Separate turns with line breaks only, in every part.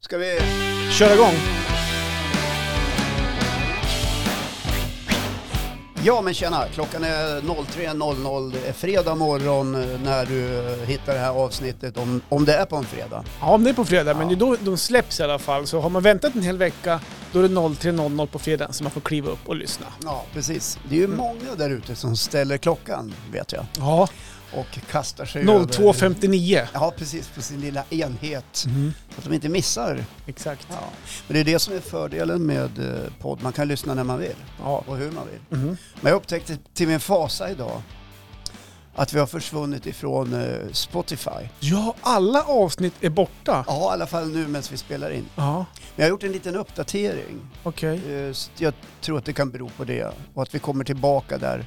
Ska vi köra igång? Ja men tjena, klockan är 03.00, det är fredag morgon eh, när du eh, hittar det här avsnittet, om, om det är på en fredag.
Ja, om det är på fredag, men det
Ja.
är då de släpps i alla fall. Så har man väntat en hel vecka, då är det 03.00 på fredagen så man får kliva upp och lyssna.
Ja precis, Mm. det är ju många där ute som ställer klockan vet jag
Ja,
och kastar sig över...
02.59.
Ja precis, på sin lilla enhet.
Mm,
Så att de inte missar.
exakt.
Ja. Men det är det som är fördelen med eh, podd, man kan lyssna när man vill
Ja.
och hur man vill.
Mm.
Men jag upptäckte till min fasa idag att vi har försvunnit ifrån eh, Spotify.
ja, alla avsnitt är borta.
Ja, i alla fall nu medan vi spelar in.
Ja,
Men jag har gjort en liten uppdatering.
okej.
Eh, så Jag tror att det kan bero på det och att vi kommer tillbaka där.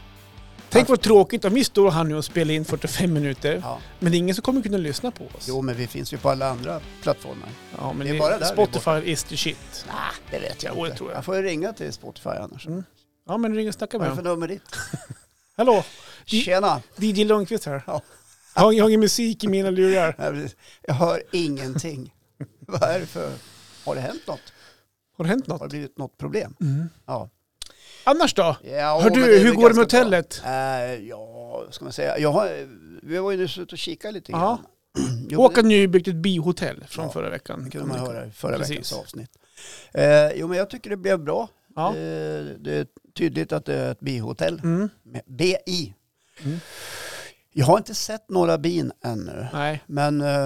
Tänk vad tråkigt om vi står här nu och spelar in 45 minuter,
Ja.
men det är ingen som kommer kunna lyssna på oss.
Jo, men vi finns ju på alla andra plattformar.
Ja, men
det är bara där vi är
Spotify is the shit.
Ah, det vet
Jo, det tror jag.
Jag får ju ringa till Spotify annars.
Mm. Ja, men ring och snacka
Vad är
med
det för
dem.
nummer ditt?
Hallå, I-
Tjena!
DJ Lundqvist här.
Ja.
Jag har jag har ingen musik i mina lurar.
Nej, precis. Jag hör ingenting. Vad är det för... Har det hänt något?
Har det hänt
Har
något?
det blivit något problem?
Mm.
Ja.
Annars då?
ja
Hör
men är
du, hur
väl
går det med
ganska bra.
hotellet?
Eh, ja, vad ska man säga? Jag har, vi var ju nyss ute och kikade lite
Ja.
grann. Jo,
Håkan nybyggt ett bihotell från
Ja,
förra veckan.
det kunde man höra i förra
Precis.
veckans avsnitt. Eh, jo, men jag tycker det blev bra.
Ja.
Eh, det är tydligt att det är ett bihotell.
Mm.
Med BI.
Mm.
Jag har inte sett några bin ännu.
Nej.
Men eh,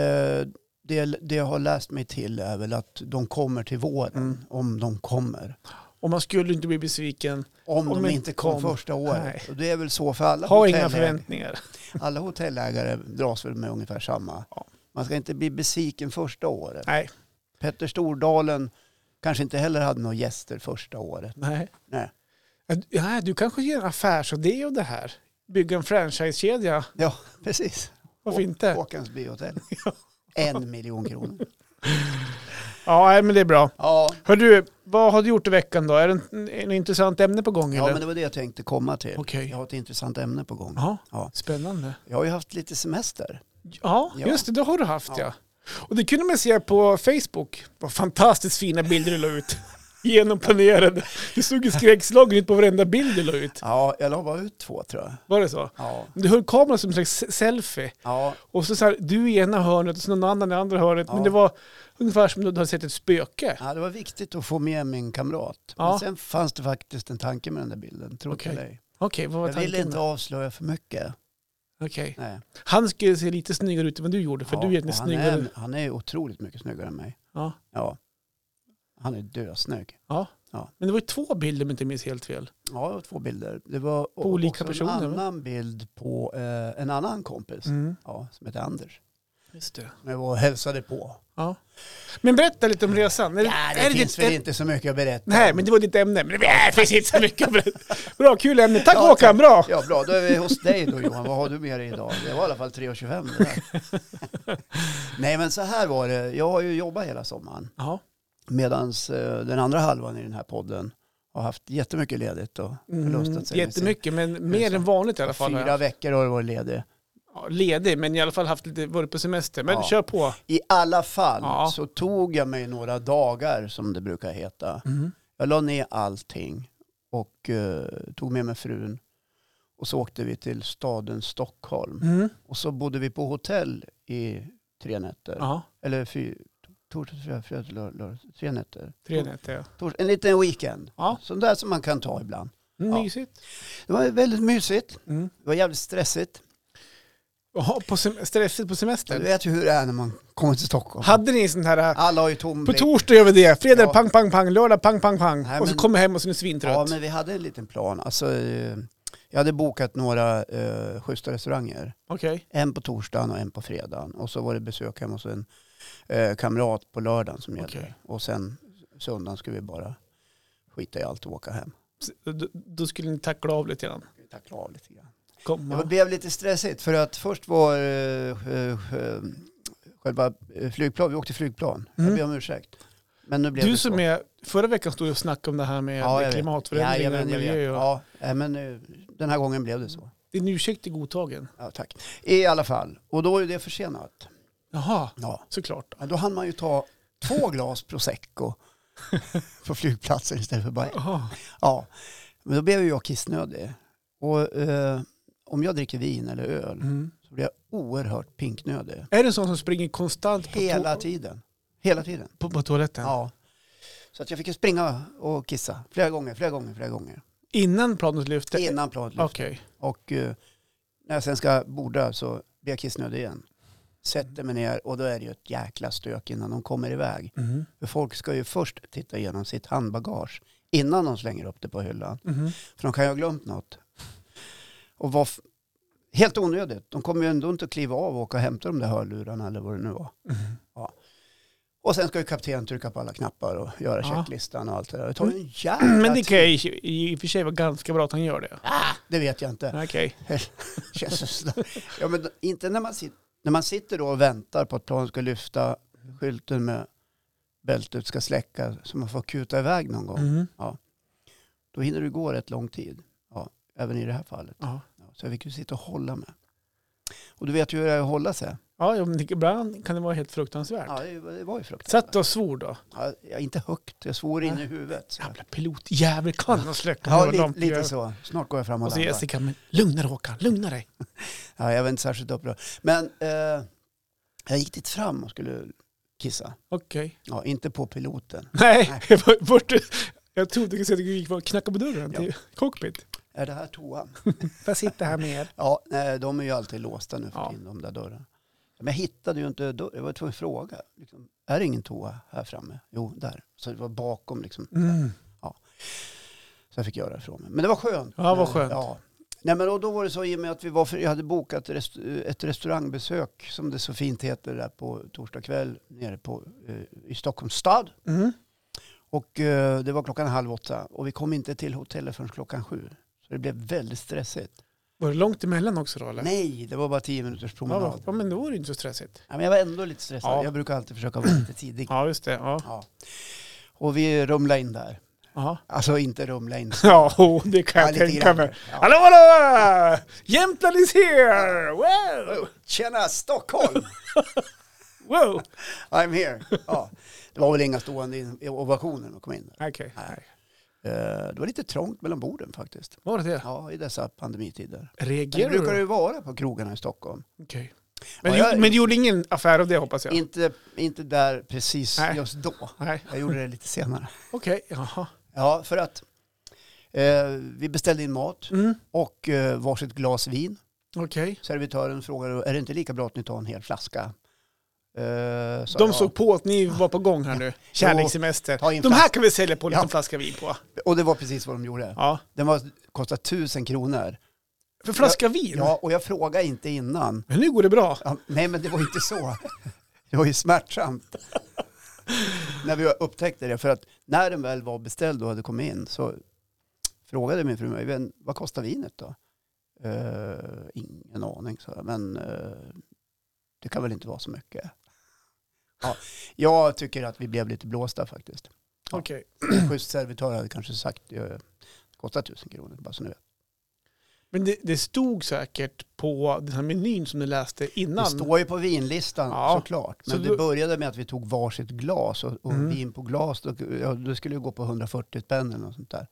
eh, det, det jag har läst mig till är väl att de kommer till våren.
Mm.
Om de kommer.
Och man skulle inte bli besviken.
Om,
Om
de
inte
inte kom,
kom.
första året.
Nej.
Och det är väl så för alla
Ha inga
hotellägare.
förväntningar.
Alla hotellägare dras väl med ungefär samma.
Ja.
Man ska inte bli besviken första året.
Nej.
Petter Stordalen kanske inte heller hade några gäster första året.
Nej.
Nej.
Ja, du- Ja, du kanske ger en affärsidé av det här. Bygga en franchisekedja.
Ja, precis.
Varför inte?
Håkans bihotell. En miljon kronor.
Ja, nej, men det är bra.
Ja,
Hör du, vad har du gjort i veckan då? Är det en, en intressant ämne på gång?
ja,
eller?
men det var det jag tänkte komma till.
Okej.
Jag har ett intressant ämne på gång.
ja.
Ja.
Spännande.
Jag har ju haft lite semester.
Ja,
Ja.
just det. Det har du haft ja.
Ja.
Och det kunde man se på Facebook. Vad fantastiskt fina bilder du la ut. Genomplanerade. Det såg ju skräckslagen ut på varenda bild du la ut.
Ja, jag la bara ut två tror jag.
Var det så?
Ja,
Du höll kameran som en slags selfie.
ja,
Och så, så här, du i ena hörnet och så någon annan i andra hörnet.
Ja.
Men det var ungefär som om du hade sett ett spöke.
ja, det var viktigt att få med min kamrat. Men
Ja.
sen fanns det faktiskt en tanke med den där bilden, tror
Okej.
jag dig.
Okej, vad var
Jag ville
tanken?
inte
då?
avslöja för mycket.
Okej.
Nej.
Han skulle se lite snyggare ut än vad du gjorde, för
Ja,
du är lite
och han
snyggare.
Är, han är otroligt mycket snyggare än mig.
Ja.
Ja. Han är dösnygg.
Men det var ju två bilder om jag inte minns helt fel.
Ja, det var två bilder. Det var o-
olika
också
personer,
en
va?
annan bild på eh, en annan kompis
Mm.
ja, som heter Anders.
Just det.
Som jag var och hälsade på.
Ja. Men berätta lite om resan. Är
Ja, det
är
finns
ditt-
väl inte så mycket att berätta.
Nej, men det var ditt ämne. Men det nej, det finns inte så mycket. att berätta. Bra, kul ämne. Tack
Ja,
Håkan, bra!
Ja, bra. Då är vi hos dig då Johan. Vad har du med dig idag? Det var i alla fall 3.25 det där. Nej, men så här var det. Jag har ju jobbat hela sommaren.
Ja.
Medan eh, den andra halvan i den här podden har haft jättemycket ledigt och förlustat sig. med sin-
Mm, Jättemycket, men mer
så.
än vanligt i alla fall. har
Fyra
jag.
veckor har jag varit ledig.
Ja, ledig, men i alla fall haft lite, varit på semester. Men
Ja.
kör på.
I alla fall
Ja.
så tog jag mig några dagar som det brukar heta. Jag la ner allting och eh, tog med mig frun. Och så åkte vi till staden Stockholm.
Mm.
Och så bodde vi på hotell i tre nätter.
Ja,
Eller fy, torsdag, fredag, fredag, lördag, lördag, tre nätter.
tre nätter. ja.
Tors, en liten weekend.
Ja.
Sån där som man kan ta ibland. Ja.
Mm, mysigt.
Det var väldigt mysigt.
Mm.
Det var jävligt stressigt.
Jaha, på sem- stressigt på
Du
semester.
vet ju hur det är när man kommer till Stockholm.
Hade ni sån här, äh,
Alla har ju tom
på
blick.
torsdag gör vi det, fredag
Ja.
pang, pang, pang, lördag pang, pang, pang.
Nej,
och så
men-
kommer jag hem och så är du
Ja,
svintrött.
men vi hade en liten plan. Alltså, eh, jag hade bokat några eh, schyssta restauranger.
Okej.
En på torsdagen och en på fredagen. Och så var det besök hemma hos en eh, kamrat på lördagen som gällde.
Okej.
Och sen söndagen skulle vi bara skita i allt och åka hem.
Så Då, då skulle ni tackla av lite grann.
Vi tacklade av lite grann. Det
Komma.
blev lite stressigt för att först var eh, eh, eh, själva eh, flygplan, vi åkte flygplan.
Mm.
Jag ber om ursäkt. Men nu blev
Du
det så.
som är, förra veckan stod du och snackade om det här med
Ja, jag
med
vet.
klimatförändringar och
Jajamän, jag vet.
miljö. Och,
Ja, nej, men eh, den här gången blev det så.
Din ursäkt är godtagen.
Ja, tack. I alla fall, och då är det försenat.
Jaha,
Ja.
såklart.
Men Då hann man ju ta två glas prosecco på flygplatsen istället för bara ett.
Jaha.
Ja, men då blev ju jag kissnödig. Och eh, om jag dricker vin eller öl
Mm.
så blir jag oerhört pinknödig.
Är det en sån som springer konstant på, to-
Hela tiden. Hela tiden.
på, på toaletten?
Ja. Så att jag fick ju springa och kissa flera gånger, flera gånger, flera gånger.
Innan planet lyfter?
Innan planet lyfte.
Okej.
Och eh, när jag sen ska borda så blir jag kissnödig igen. Sätter mig ner och då är det ju ett jäkla stök innan de kommer iväg.
Mhm.
För folk ska ju först titta igenom sitt handbagage innan de slänger upp det på hyllan.
Mhm.
För de kan ju ha glömt något. Och var f- helt onödigt. De kommer ju ändå inte att kliva av och åka och hämta de där hörlurarna eller vad det nu var.
Mhm.
Och sen ska ju kaptenen trycka på alla knappar och göra
Ja.
checklistan och allt det där. Det tar ju en
Men
jävla
det
tid.
kan jag i, i och för sig vara ganska bra att han gör det.
Det vet jag inte.
Okej.
Jesus. Ja, men inte när man, sit, när man sitter då och väntar på att planen ska lyfta skylten med bältet ska släcka så man får kuta iväg någon gång.
Mhm.
Då hinner du gå rätt lång tid. Ja, även i det här fallet.
Ja.
Ja, så jag fick ju sitta och hålla med. Och du vet ju hur det är att hålla sig.
Ja, ja, men det- ibland kan det vara helt fruktansvärt.
Ja, det det var ju fruktansvärt.
Satt och svor då.
Ja, jag är inte högt, jag svor in i
Nej.
huvudet. Så.
Jävla pilotjävel, kan han släcka
Ja,
honom?
li, lite så. Snart går jag fram och
Och så
landar.
Jessica, men lugna dig Håkan, lugna dig.
Ja, jag var inte särskilt upprörd. Men eh, jag gick dit fram och skulle kissa.
Okej.
Ja, inte på piloten.
Nej, jag var- vart, jag trodde du skulle säga att du gick och knackade på dörren
Ja.
till cockpit.
Är det här toan?
Får jag sitta här med er?
Ja, nej, de är ju alltid låsta nu för
Ja.
tiden, de där dörrarna. Men jag hittade ju inte dörren. Jag var tvungen att fråga. Liksom, är det ingen toa här framme? Jo, där. Så det var bakom liksom.
Mm.
Så jag fick göra det ifrån mig. Men det var skönt.
Ja, vad
Men,
skönt.
Ja. Nej, men då, då var det så i och med att vi var för, jag hade bokat rest, ett restaurangbesök som det så fint heter där på torsdag kväll nere på, eh, i Stockholms stad.
Mm.
Och eh, det var klockan halv åtta och vi kom inte till hotellet förrän klockan sju. Så det blev väldigt stressigt.
Var det långt emellan också då eller?
Nej, det var bara tio minuters
Ja, va-
promenad.
ja, men då var det inte så stressigt.
Ja, men jag var ändå lite stressad.
Ja.
Jag brukar alltid försöka vara lite tidig.
Ja, just det. Ja.
Ja. Och vi rumlade in där.
Aha.
Alltså inte rumla in.
Ja, oh, det kan jag
lite
tänka
grann.
mig.
Ja.
Hallå, hallå! Jämtland is here! Wow!
Tjena Stockholm!
wow.
I'm here. Ja. Det var väl inga stående in- ovationer när man kom in. där.
Okej.
Nej. Eh, Det var lite trångt mellan borden faktiskt.
Var det det?
Ja, i dessa pandemitider. Men det
Reagerar
brukar det
du?
ju vara på krogarna i Stockholm.
Okej. Men,
Ja,
du-
jag-
men du gjorde ingen affär av det hoppas jag?
Inte, inte där precis
Nej.
just då.
Nej,
Jag gjorde det lite senare.
okej. Jaha.
Ja, för att eh, vi beställde in mat
Mm.
och eh, varsitt glas vin.
Okej.
Servitören frågade, är det inte lika bra att ni tar en hel flaska? Eh, sa
De
jag.
såg på att ni var på gång här nu.
Ta in
Kärlekssemester. De här
flask-
kan vi sälja på en
Ja.
liten flaska vin på.
Och det var precis vad de gjorde.
Ja.
Den var, kostade tusen kronor.
För flaska vin?
Ja, och jag frågade inte innan.
Men nu går det bra.
Ja, nej, men det var inte så. Det var ju smärtsamt. när vi upptäckte det. För att när den väl var beställd och hade kommit in så frågade min fru mig, "Men vad kostar vinet då? "Eh, ingen aning, så jag. Men eh, det kan väl inte vara så mycket. Ja, jag tycker att vi blev lite blåsta faktiskt. Ja.
Okej.
En schysst servitör hade kanske sagt, eh, det kostar tusen kronor, bara så ni vet.
Men det, det stod säkert på den här menyn som du läste
Det
innan.
står ju på vinlistan
Ja.
såklart. Men
Så
det
du-
började med att vi tog varsitt glas och, och
Mm.
vin på glas. Då, ja, då skulle det gå på 140 spänn eller något sånt där.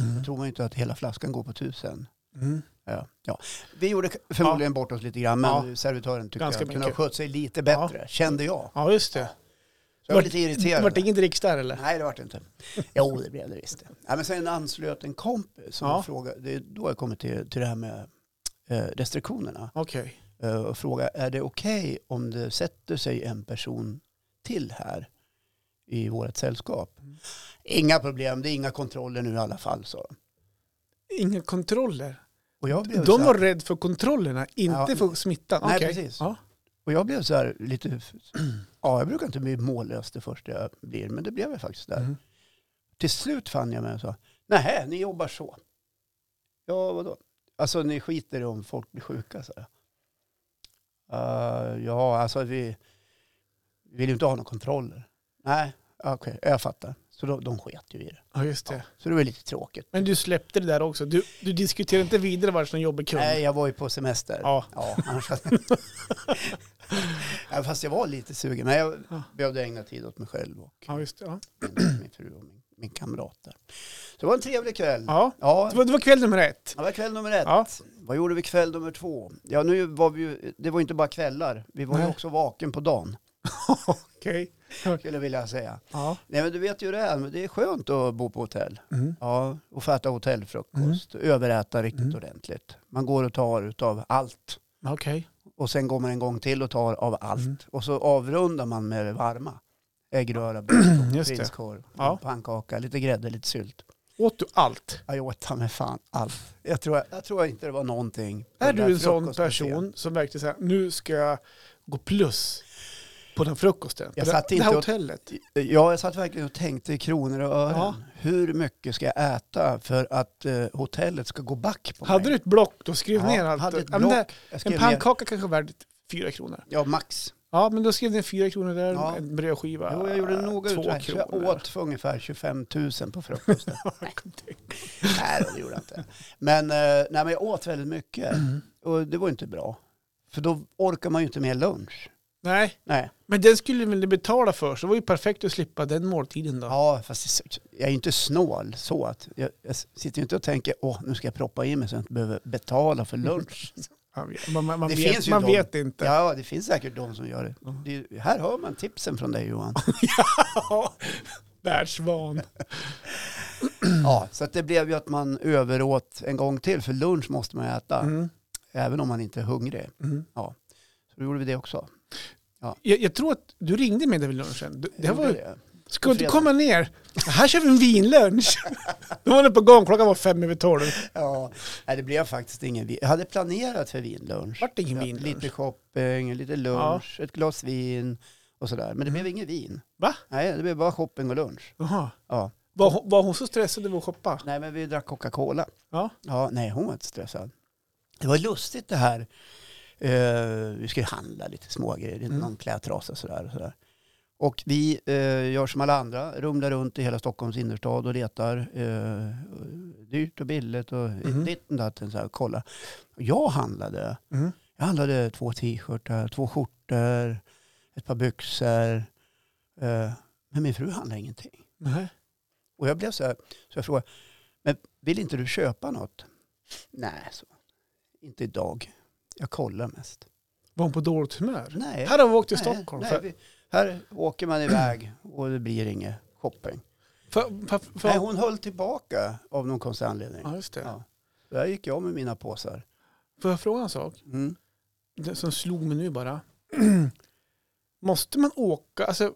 Mm.
Då tror man ju inte att hela flaskan går på 1000.
Mm.
Ja. Ja. Vi gjorde k- förmodligen bort oss lite grann, men servitören tyckte
Ganska
jag kunde ha
mycket.
skött sig lite bättre, kände jag.
Ja, just det.
Så jag var
Vart-
lite
Det
irriterad.
vart ingen dricks där eller?
Nej, det var det inte. Jo, det blev det visst. Ja, men sen anslöt en kompis som
Ja.
frågade, det är då jag kommer till, till det här med eh, restriktionerna.
Okej.
eh, och fråga är det okej om det sätter sig en person till här i vårt sällskap?
Mm.
Inga problem, det är inga kontroller nu i alla fall, sa de.
Inga kontroller.
Och jag blev, så
De
här,
var rädda för kontrollerna, inte
Ja.
för smittan.
Nej,
Okej.
precis.
Ja.
och jag blev så här lite... Ja, jag brukar inte bli mållös det första jag blir, men det blev jag faktiskt där.
Mm.
Till slut fann jag mig och sa, nej, ni jobbar så. Ja, vadå? Alltså ni skiter i om folk blir sjuka, så här. "Eh, ja, alltså vi vi vill ju inte ha några kontroller. Nej, okej, jag fattar. Så då, de sket ju i det.
ja, just det.
Så det var lite tråkigt.
Men du släppte det där också. Du, du diskuterade inte vidare varför en jobbig kund.
Nej, jag var ju på semester.
Ja.
Ja, annars hade... Ja, fast jag var lite sugen. Men jag
Ja.
behövde ägna tid åt mig själv och
Ja, just det. Ja.
min fru och min, min kamrat där. Så det var en trevlig kväll.
Ja.
Ja,
Det, var, det var kväll nummer ett.
det var kväll nummer ett.
Ja.
Vad gjorde vi kväll nummer två? Ja, nu var vi ju, det var ju inte bara kvällar. Vi var ju
Nej.
också vaken på dagen,
Okej.
skulle jag vilja säga.
Ja.
Nej, men du vet ju hur det är. Men det är skönt att bo på hotell.
Mm.
Ja, och få äta hotellfrukost. Överäta riktigt
Mm.
ordentligt. Man går och tar utav allt.
Okej.
Och sen går man en gång till och tar av allt.
Mm.
Och så avrundar man med det varma. Äggröra, bröd,
Just det.
prinskorv,
Ja.
pannkaka, lite grädde, lite sylt.
Åt du allt?
Ja, Jag åt ta mig fan allt. Jag tror, jag tror inte det var någonting. på
Är
den där
du en sån
frukostbuffén.
person som verkligen säger nu ska jag gå plus på den frukosten? På
Jag
det,
satt
det
inte
här
och-
hotellet?
Ja, jag satt verkligen och tänkte i kronor och ören.
Ja.
Hur mycket ska jag äta för att eh, hotellet ska gå back på
Hade
mig?
du ett block då skrev
Ja,
ner allt?
hade ett
Ja, men
block.
det-
Jag skrev
en
ner-
pannkaka kanske värd fyra kronor.
Ja, max.
Ja, men då skrev ni fyra kronor där,
Ja.
en brödskiva.
Jo, jag gjorde noga
två
uträkningar.
kronor.
Jag åt för ungefär 25 000 på frukosten. nej, då, det gjorde jag inte. Men, eh, nej, men jag åt väldigt mycket.
Mm.
Och det var ju inte bra. För då orkar man ju inte med lunch.
Nej,
Nej.
men den skulle väl ni betala för, så det var ju perfekt att slippa den måltiden då.
Ja, fast jag är ju inte snål så att jag, jag sitter ju inte och tänker åh, nu ska jag proppa i mig så jag inte behöver betala för lunch.
Man, vet- man, man,
Det finns
vet,
ju
man
de-
vet inte.
ja, det finns säkert de som gör det. det. är- Här hör man tipsen från dig Johan.
Världsvan.
Ja, så att det blev ju att man överåt en gång till, för lunch måste man äta,
Mm.
även om man inte är hungrig.
Mm.
Så då gjorde vi det också.
Jag, jag tror att du ringde mig där vid lunchen. Du- Det
Jag gjorde
var,
det.
ska du
fredag.
komma ner? Här kör vi en vinlunch. Då var ni på gång, klockan var fem över tolv.
Ja, nej, det blev faktiskt ingen vin. Jag hade planerat för vinlunch.
Vart det ingen
Ja,
vinlunch?
Lite shopping, lite lunch, ett glas vin och sådär. Men det blev ingen vin.
Mm. Va?
Nej, det blev bara shopping och lunch.
Jaha.
Ja.
Var, hon- var hon så stressad över att shoppa?
Nej, men vi drack Coca-Cola.
Ja.
Ja, nej, hon var inte stressad. Det var lustigt det här. Eh, vi ska ju handla lite smågrejer, mm.
Mm.
någon klädtrasa och sådär. Och, sådär. och vi eh, gör som alla andra, rumlar runt i hela Stockholms innerstad och letar. Eh, dyrt och billigt och
Mhm.
ditt och datten. Så här, kolla. Jag handlade.
Mm.
Jag handlade två t-shirtar, två skjortor, ett par byxor. Eh, men min fru handlade ingenting.
Nej.
Och jag blev så här, så jag frågade, men vill inte du köpa något? Nej, så. Inte idag. Jag kollar mest.
Var hon på dåligt humör?
Nej.
Här har vi åkt till
nej,
Stockholm.
Nej,
för-
vi, här åker man iväg och det blir inget shopping.
För, för, för,
Nej, hon höll tillbaka av någon konstig anledning.
ja, just det.
Ja. Där gick jag med mina påsar.
Får jag fråga en sak?
Mm.
Det som slog mig nu bara. Måste man åka, alltså,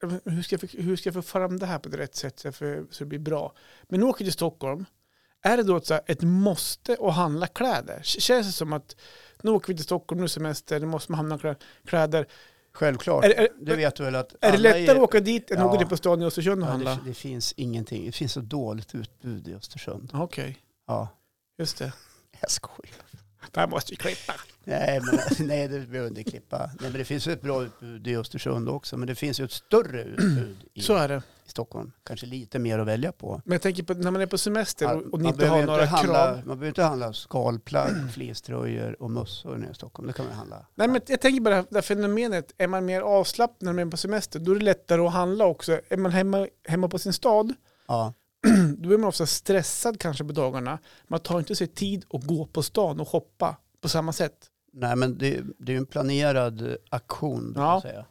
jag vet inte, hur ska, jag, för- hur ska jag få fram det här på ett rätt sätt så, jag får- så det blir bra? Men nu åker jag till Stockholm. Är det då ett, så här, ett måste att handla kläder? K- Känns det som att nu åker vi till Stockholm, nu är semester, nu måste man handla klä- kläder.
Självklart.
Är, är,
du vet väl att
är det
alla
lättare att
i-
åka dit än att
Ja.
åka ner på stan i Östersund och
Ja, det,
handla?
det finns ingenting. Det finns så dåligt utbud i Östersund.
Okej,
Ja,
just det.
jag skojar.
Det här måste vi klippa.
Nej, men, alltså, nej, det behöver inte klippa. Nej, men det finns ju ett bra utbud i Östersund också, men det finns ju ett större utbud i,
Så är det.
i Stockholm. Kanske lite mer att välja på.
Men jag tänker på när man är på semester och, och ni
man
inte
behöver
har
ju
några
handla,
krav.
Man behöver inte handla skalplagg, fleecetröjor och mössor nere i Stockholm. Det kan man handla.
Nej, men jag tänker bara det här- det här fenomenet, är man mer avslappnad när man är på semester, då är det lättare att handla också. Är man hemma, hemma på sin stad,
Ja, Mm.
då är man ofta stressad kanske på dagarna. Man tar inte sig tid att gå på stan och shoppa på samma sätt.
nej, men det, det är ju en planerad aktion. Ja.
Ja.
Jag säga.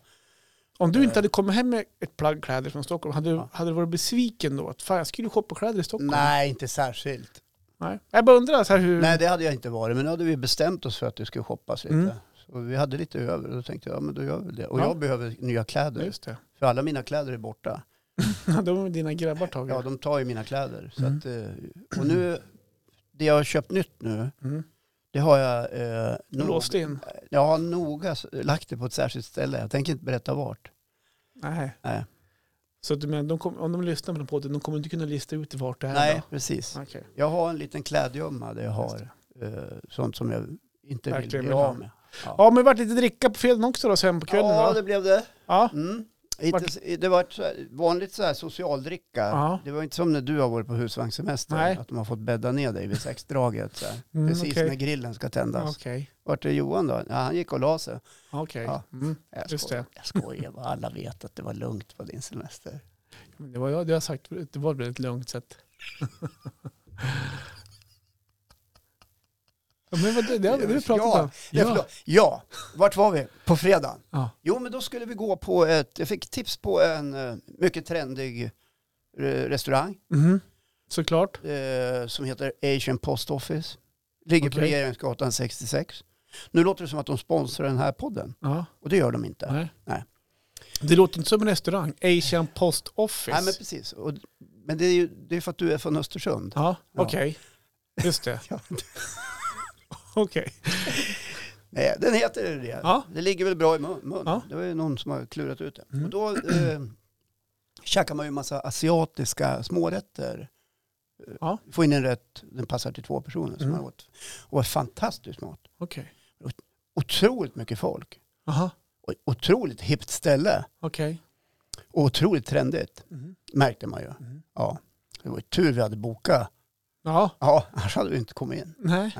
Om du
Eh.
inte hade kommit hem med ett plagg kläder från Stockholm, hade du,
Ja.
hade du varit besviken då? Att fan, jag skulle ju shoppa kläder i Stockholm.
Nej, inte särskilt.
Nej. Jag bara undrar så här hur...
Nej, det hade jag inte varit, men nu hade vi bestämt oss för att det skulle shoppas lite.
Mm.
Så vi hade lite över och då tänkte jag, ja men då gör vi det. Och
Ja. Mm.
jag behöver nya kläder,
Just det.
för alla mina kläder är borta.
De har dina grabbar tagit.
Ja, de tar ju mina kläder. Så
Mm.
att, eh, och nu, det jag har köpt nytt nu,
Mm.
det har jag eh,
Låst in?
jag har noga s- lagt det på ett särskilt ställe. Jag tänker inte berätta vart.
Nej.
Nej,
Så att, du menar, de kom, om de lyssnar på den podden, de kommer inte kunna lista ut vart det är
Nej
då?
precis.
Okej.
Jag har en liten klädgömma där jag
Just
har eh, sånt som jag inte vill
Verkligen
bli
vill ha.
av med.
Ja, men det vart lite dricka på fredagen också då, sen på kvällen
Ja,
då?
det blev det.
Ja.
Mm.
Vart-
Inte, så- det var ett så här- vanligt så här socialdricka.
Ja.
Det var inte som när du har varit på husvagnssemester.
Nej.
Att de har fått bädda ner dig vid sexdraget. Så här.
Mm,
Precis
okej.
när grillen ska tändas.
Okej,
Vart är Johan då? Ja, han gick och la sig.
okej.
Ja.
Mm.
Jag
Just
skojar.
det.
Jag skojar. bara. Alla vet att det var lugnt på din semester.
Men Det var jag, det har jag sagt, förut. det var väldigt lugnt sätt. ja, men vad, det, det har vi det har vi pratat
Ja,
om.
Ja.
Ja.
förlåt. ja, vart var vi? På fredagen.
Ja.
Jo, men då skulle vi gå på ett... Jag fick tips på en eh, mycket trendig eh, restaurang.
Mhm. Såklart.
eh, som heter Asian Post Office. Ligger på
Okej.
Regeringsgatan 66. Nu låter det som att de sponsrar den här podden
Ja.
och det gör de inte.
Nej.
Nej.
Det låter inte som en restaurang. Asian Post Office.
Nej men precis. Och, men det är ju det är för att du är från Östersund.
Ja,
Ja.
okej. Just det.
Ja.
okej.
Nej, den heter det.
Ja.
Det ligger väl bra i mun. mun.
Ja.
Det var ju någon som har klurat ut det.
Mm.
Och då eh, käkar man ju massa asiatiska smårätter. Eh,
Ja.
Få in en rätt, den passar till två personer som
Mm.
man åt. Och fantastisk mat.
Okej.
Otroligt mycket folk.
Aha,
Och otroligt hippt ställe.
okej.
Och otroligt trendigt.
Mhm,
märkte man ju.
mhm.
Ja. Det var ju tur vi hade bokat.
Ja,
Ja, annars hade vi inte kommit in.
nej,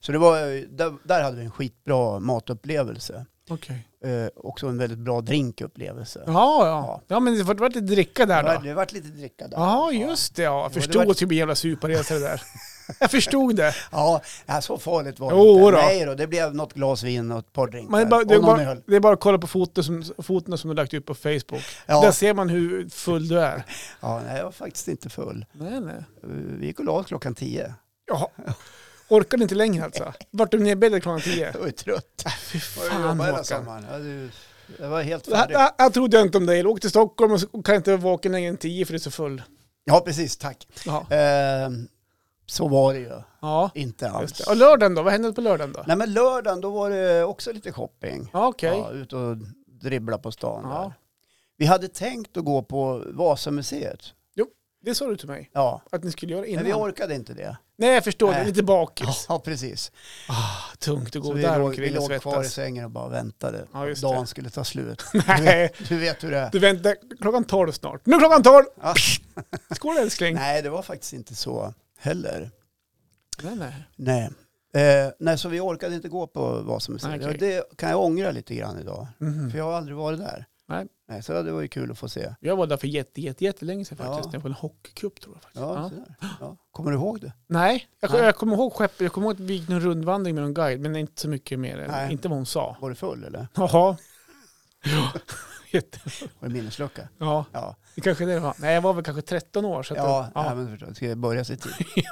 Så det var, ju- där, där hade vi en skitbra matupplevelse.
okej.
Eh, också en väldigt bra drinkupplevelse.
Ja,
Ja.
ja. Ja, men det vart vart lite dricka
det,
där
var,
då.
det vart lite dricka där.
Ja, just det. Ja. Jag
det
förstod att
var-
det skulle bli en jävla superresa det där. Jag förstod det.
Ja, ja, så farligt var det
Jo
inte.
då.
Nej då, det blev något glas vin och ett par drinkar.
Man, det är bara, det, är
och någon
bara,
öl.
det är bara att kolla på foton som, foton som du lagt upp på Facebook. Där
Ja,
ser man hur full du är.
ja, nej, jag var faktiskt inte full.
Nej, nej.
Eh, Vi gick och la oss klockan tio.
Ja. Orkar du inte längre alltså? Vart du nedbäddad klockan tio?
Jag var ju trött.
Äh, Fy
Jag
fan
jobbade hela
Håkan.
sommaren. Jag, hade ju- jag var helt
Det här,
färdig.
det här trodde jag inte om dig. Jag åkte till Stockholm och så- och kan inte vara vaken längre än tio för du är så full.
Ja, precis. Tack.
Ja,
Eh, så var det ju.
ja
Inte alls.
just det. Och lördagen då? Vad hände på lördagen då?
Nej men lördagen då var det också lite shopping.
Ja, okej.
Ja, ut och dribbla på stan
Ja.
där. Vi hade tänkt att gå på Vasamuseet.
Det sa du till mig
Ja,
att ni skulle göra
men
innan.
vi orkade inte det.
Nej, jag förstår. Det är
Nej.
lite bakis.
Ja, precis.
Ah, tungt att
Så
gå
vi
där
låg, vi
omkring och
låg kvar i
svettas.
sängen och bara väntade.
Ja, just
Dagen
det.
skulle ta slut. Du
Nej,
vet, du vet hur det är.
du väntar klockan tolv snart. Nu är klockan tolv!
Ja.
Skål älskling!
Nej, det var faktiskt inte så heller.
Nej, nej.
Nej. Eh, nej, så vi orkade inte gå på Vasamuseet.
Okej.
Och Det kan jag ångra lite grann idag.
Mhm.
För jag har aldrig varit där.
Nej.
Nej, så det var ju kul att få se.
Jag var där för jätte, jätte, jättelänge sedan faktiskt.
Ja.
Det var en hockeycup tror jag faktiskt.
Ja,
Ja.
så där. ja. Kommer du ihåg det?
Nej, jag,
Nej.
jag kommer ihåg skeppet. Jag kommer ihåg att vi gick en rundvandring med någon guide, men inte så mycket mer. än-
Nej.
Inte vad hon sa.
Var du full eller?
Jaha. Ja. Jätte.
Var det minneslucka?
ja,
Ja,
det kanske det var. Nej, jag var väl kanske 13 år. Så att
ja,
ja.
Nej, men förstås. Ska jag börja sig tid?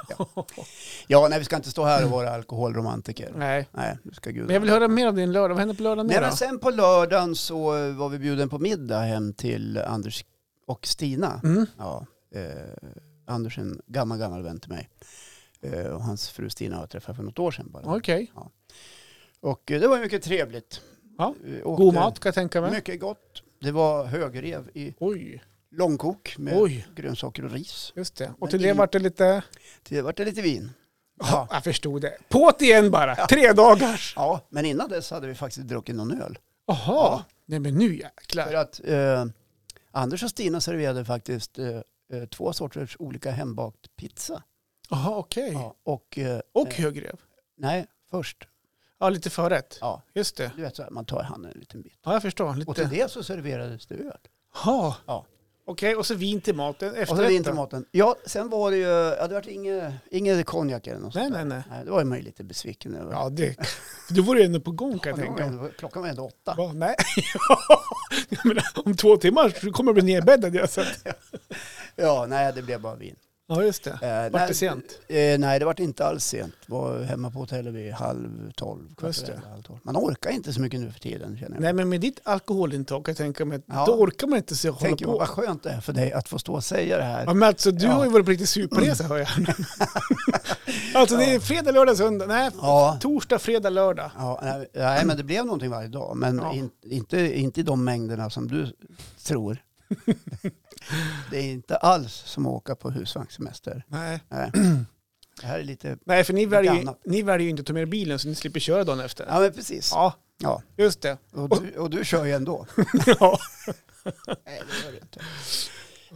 Ja, nej vi ska inte stå här och vara alkoholromantiker.
Nej.
Nej, nu ska gud.
Men jag vill höra mer om din lördag. Vad hände på lördagen nu
nej,
då?
men sen på lördagen så eh, var vi bjuden på middag hem till Anders och Stina.
Mm.
Ja, eh, Anders är en gammal, gammal vän till mig. Eh, och hans fru Stina har jag träffat för något år sedan bara.
Okej.
Och eh, det var ju mycket trevligt.
Ja,
Eh, åkte-
God mat kan jag tänka mig.
Mycket gott. Det var högrev i
Oj,
långkok med
oj,
grönsaker och ris.
just det.
Men
Och till det
i-
vart det lite...
Det vart det lite vin.
Ja. Jag förstod det. På't igen bara. Tre dagars.
Ja, men innan dess hade vi faktiskt druckit någon öl.
Jaha.
Ja.
Nej men nu
För
jäklar.
att eh, Anders och Stina serverade faktiskt eh, eh, två sorters olika hembakt pizza.
Jaha okej.
Ja, och, eh,
Och
eh,
högrev.
nej, först.
Ja lite förrätt.
Ja,
Just det.
du vet så här, man tar i handen en liten bit.
Ja jag förstår.
Och till
Lite.
det så serverades det öl.
Jaha.
Ja.
Okej och så vin till maten.
Och så vin
Efterrätt
till
då?
maten. Ja, sen var det ju, ja, det var inget, inget konjak eller något
Nej
sånt
nej
där.
nej.
Nej, det var ju man ju lite besviken över.
Ja det. Du vore ju ändå på gång kan jag
Men det var
tänka mig.
ändå- klockan var ändå åtta.
Va? Nej. Jag menar, om två timmar så kommer jag bli nedbäddad. jag, så att-
Ja, nej, det blev bara vin.
Ja just det.
Eh,
Vart
nej,
det sent?
Eh, nej, det var inte alls sent. Var hemma på hotellet vid halv tolv. kvart
Just det.
över halv tolv. Man orkar inte så mycket nu för tiden känner jag.
Nej, men med ditt alkoholintag kan jag tänka mig att
Ja.
då orkar man inte se hålla
Tänker
på.
vad skönt det är för dig att få stå och säga det här.
Ja, men alltså, du
Ja. Mm.
har ju varit på riktig superresa hör jag. alltså det är fredag, lördag, söndag. Nej,
Ja,
torsdag, fredag, lördag.
ja nej, nej, men det blev någonting varje dag. Men
Ja.
in, inte, inte i de mängderna som du tror. det är inte alls som att åka på husvagnssemester.
Nej.
Nej. Det här är lite...
Nej, för ni väljer, ju-
annat.
ni väljer ju inte att ta med er bilen så ni slipper köra dagen efter.
Ja, men precis.
Ja,
Ja.
just det.
Och, du, och du kör ju ändå.
Ja.
Nej, det gör det inte.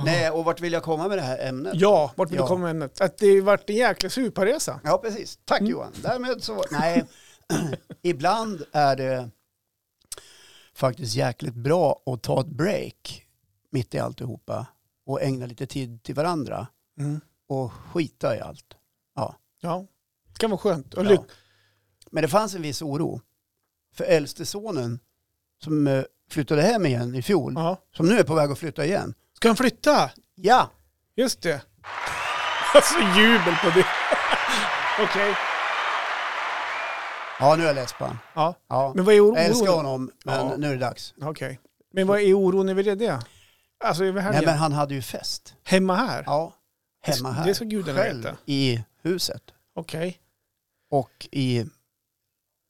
Nej, och vart vill jag komma med det här ämnet?
Ja, vart vill
Ja.
du komma med ämnet? Att det vart en jäkla superresa.
Ja, precis. Tack
Mm.
Johan. Därmed så, nej, ibland är det faktiskt jäkligt bra att ta ett break mitt i alltihopa och ägna lite tid till varandra
Mm.
och skita i allt.
Ja, det kan vara skönt. Och
Ja. Mm.
lyck-
Men det fanns en viss oro. För äldste sonen som eh, flyttade hem igen i fjol,
ja.
som nu är på väg att flytta igen.
Ska han flytta?
Ja,
Just det. Alltså jubel på det. Okej.
ja nu är jag less på honom.
Ja.
Ja.
Men vad är
Jag älskar
oron?
honom, men
Ja.
nu är det dags.
Okej. Men vad är oron över det? det? Alltså över helgen?
Nej, men han hade ju fest.
Hemma här?
Ja, hemma här.
Det ska gudarna
själv
veta.
i huset.
Okej.
och i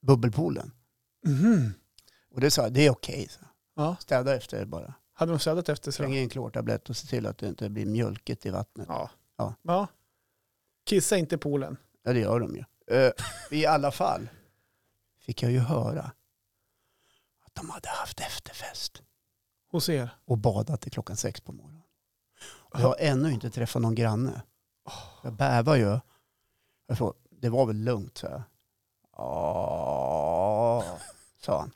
bubbelpoolen.
Mhm.
Och det sa jag, det är okej. sa jag.
Ja.
Städa efter bara.
Hade de städat efter sig?
Släng
då?
i en klortablett och se till att det inte blir mjölkigt i vattnet.
Ja.
Ja.
ja. Kissa inte i poolen.
Ja, det gör de ju. Eh, I alla fall fick jag ju höra att de hade haft efterfest
Hos er?
och badat till klockan sex på morgonen. Och jag har ännu inte träffat någon granne. Jag bävar ju. Jag frågade, det var väl lugnt, sa jag. Ja, sa han.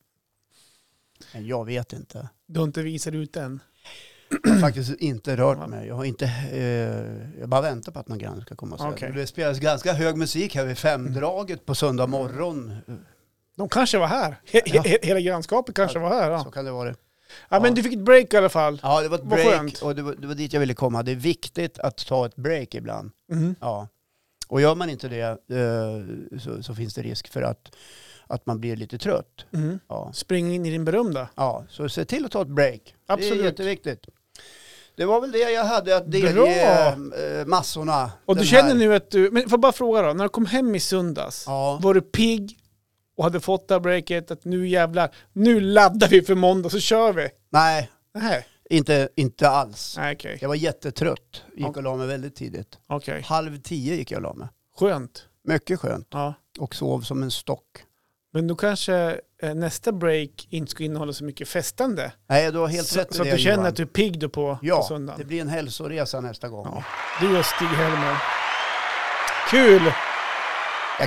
Men jag vet inte.
Du har inte visat ut än?
Jag har faktiskt inte rört mig. Jag har inte, eh, jag bara väntar på att någon granne ska komma och säga.
Okej.
Det spelas ganska hög musik här vid femdraget på söndag morgon.
De kanske var här. He
Ja.
he hela grannskapet kanske var här.
Så
Ja.
kan det vara det.
Ja, men du fick ett break i alla fall.
Ja, det var ett
Vad
break
skönt.
och det var, det var dit jag ville komma. Det är viktigt att ta ett break ibland.
Mhm.
Ja. Och gör man inte det eh, så, så finns det risk för att, att man blir lite trött.
Mhm.
Ja.
Spring in i din berömda.
ja, så se till att ta ett break. Det
Absolut.
är jätteviktigt. Det var väl det jag hade att delge
Bra.
eh, massorna.
Och du
den
känner
här-
nu att du, men får jag bara fråga då, när du kom hem i söndags,
Ja.
var du pigg och hade fått det här breaket att nu jävlar, nu laddar vi för måndag så kör vi?
Nej,
Nej,
Inte, inte alls.
Nej, okej.
Jag var jättetrött. Gick och la mig väldigt tidigt.
Okej,
Halv tio gick jag och la mig.
skönt.
Mycket skönt.
Ja.
Och sov som en stock.
Men då kanske eh, nästa break inte ska innehålla så mycket festande.
Nej, du har helt
så
rätt i
så
det
att du känner
Johan.
att du är pigg då på, på
Ja, det
söndagen.
blir en hälsoresa nästa gång. Ja.
Ja. Du och Stig-Helmer. Kul!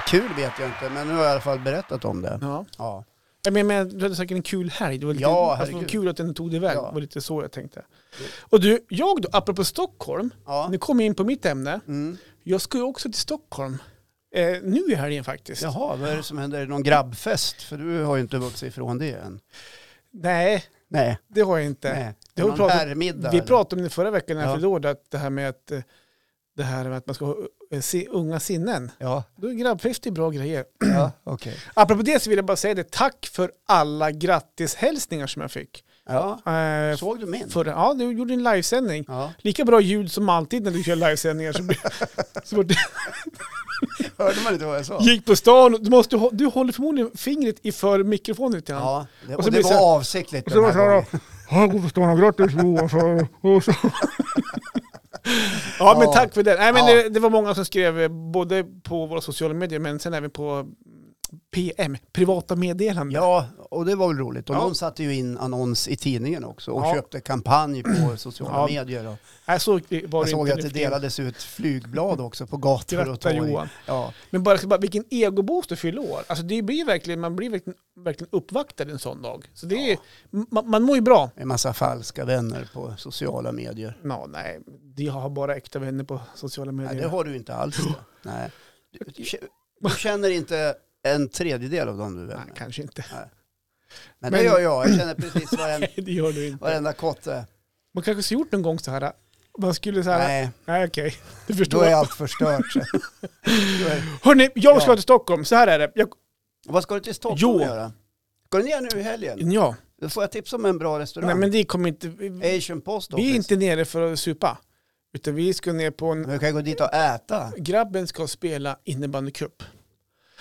kul vet jag inte, men nu har jag i alla fall berättat om det.
Ja.
Ja,
Jag menar, men, du hade säkert en kul helg. Det var lite,
Ja,
alltså, det var
herregud.
kul att den tog dig iväg.
Ja.
Det var lite så jag tänkte.
Ja.
Och du, jag då, apropå Stockholm.
ja.
Nu kommer jag in på mitt ämne.
Mm.
Jag ska ju också till Stockholm. Eh, nu i helgen faktiskt.
Jaha, vad är det som händer? Är det någon grabbfest? För du har ju inte vuxit ifrån det än.
Nej,
Nej,
det har jag inte.
nej.
Det har vi
någon
pratat-
herrmiddag?
Vi
eller?
pratade om det förra veckan när jag
Ja.
fyllde år, det att det här med att eh, det här med att man ska ha eh, se unga sinnen.
Ja,
Då är grabbfest är bra grejer.
ja okej.
Apropå det så vill jag bara säga det, tack för alla grattishälsningar som jag fick.
Ja.
Eh,
Såg du min?
för, ja, du gjorde en livesändning.
Ja.
Lika bra ljud som alltid när du kör livesändningar. Så, blir- så fort
Hörde man inte vad jag sa?
du gick på stan, du, måste, ha- du håller förmodligen fingret iför mikrofonen till honom.
Ja, det, och
Och
det
så blir det så
var avsiktligt
Och så
den
var det så
här
här,
gången.
ja, god förstånd och grattis Johan. så- och så- Ja,
Ja.
men tack för det. Nej, men
Ja.
det, det var många som skrev eh, både på våra sociala medier men sen även på PM, privata meddelanden.
Ja, och det var väl roligt. Och
Ja.
någon satte ju in annons i tidningen också och
Ja.
köpte kampanj på sociala
Ja.
medier. Och
Nej, så var
jag
det
såg
inte
att det
nu för tiden.
delades ut flygblad också på gator och
Gratta
torg.
Johan.
Ja,
Men bara, bara vilken egoboost du fyller år. Alltså det blir verkligen, man blir verkligen, verkligen uppvaktad en sån dag. Så det är, man, man mår ju bra.
en massa falska vänner på sociala medier.
Nå, nej, de har bara äkta vänner på sociala medier.
Nej, det har du inte alls. Nej. Du, du kä- du känner inte en tredjedel av dem du är vän
nej,
med.
kanske inte.
Men det
Men-
gör jag. Jag känner precis varenda,
Nej, det gör du inte.
varenda kotte.
Man kanske skulle gjort någon gång så här. Man skulle så här, nej,
Nej,
okej, du
då
förstår.
är
Jag...
allt förstört. sen. Då är-
Hörni, jag ska
Ja.
till Stockholm, så här är det. Jag...
Vad ska du till Stockholm
Jo.
göra? Ska du ner nu i helgen?
Ja,
Då får jag tips om en bra restaurang.
nej men det kommer inte, vi,
Asian Post
vi är
Office.
inte nere för att supa. Utan vi ska ner på en,
Men vi kan gå dit och äta.
grabben ska spela innebandycup.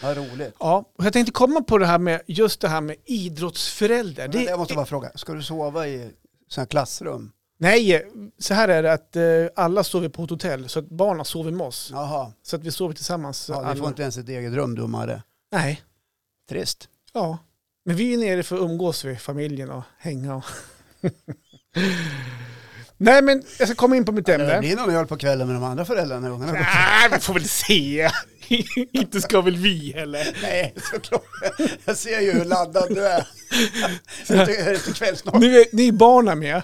Vad roligt.
Ja, och jag tänkte komma på det här med just det här med idrottsförälder.
Det...
Det,
Jag måste bara fråga, ska du sova i sådana klassrum?
nej, så här är det att eh, alla sover på ett hotell så att barnen sover med oss.
Jaha,
Så att vi sover tillsammans. Så
ja,
alla,
vi får inte ens ett eget rum dummare.
Nej,
Trist.
ja. Men vi är nere för att umgås med familjen och hänga. Och Nej, men jag ska komma in på mitt
Det
ämne.
blir någon öl på kvällen med de andra föräldrarna när ungarna går.
Nej, vi får väl se. Inte ska väl vi heller.
Nej, såklart. Jag ser ju hur laddad du är. Jag tycker det är lite kväll snart.
Nu är, nu är barnen med.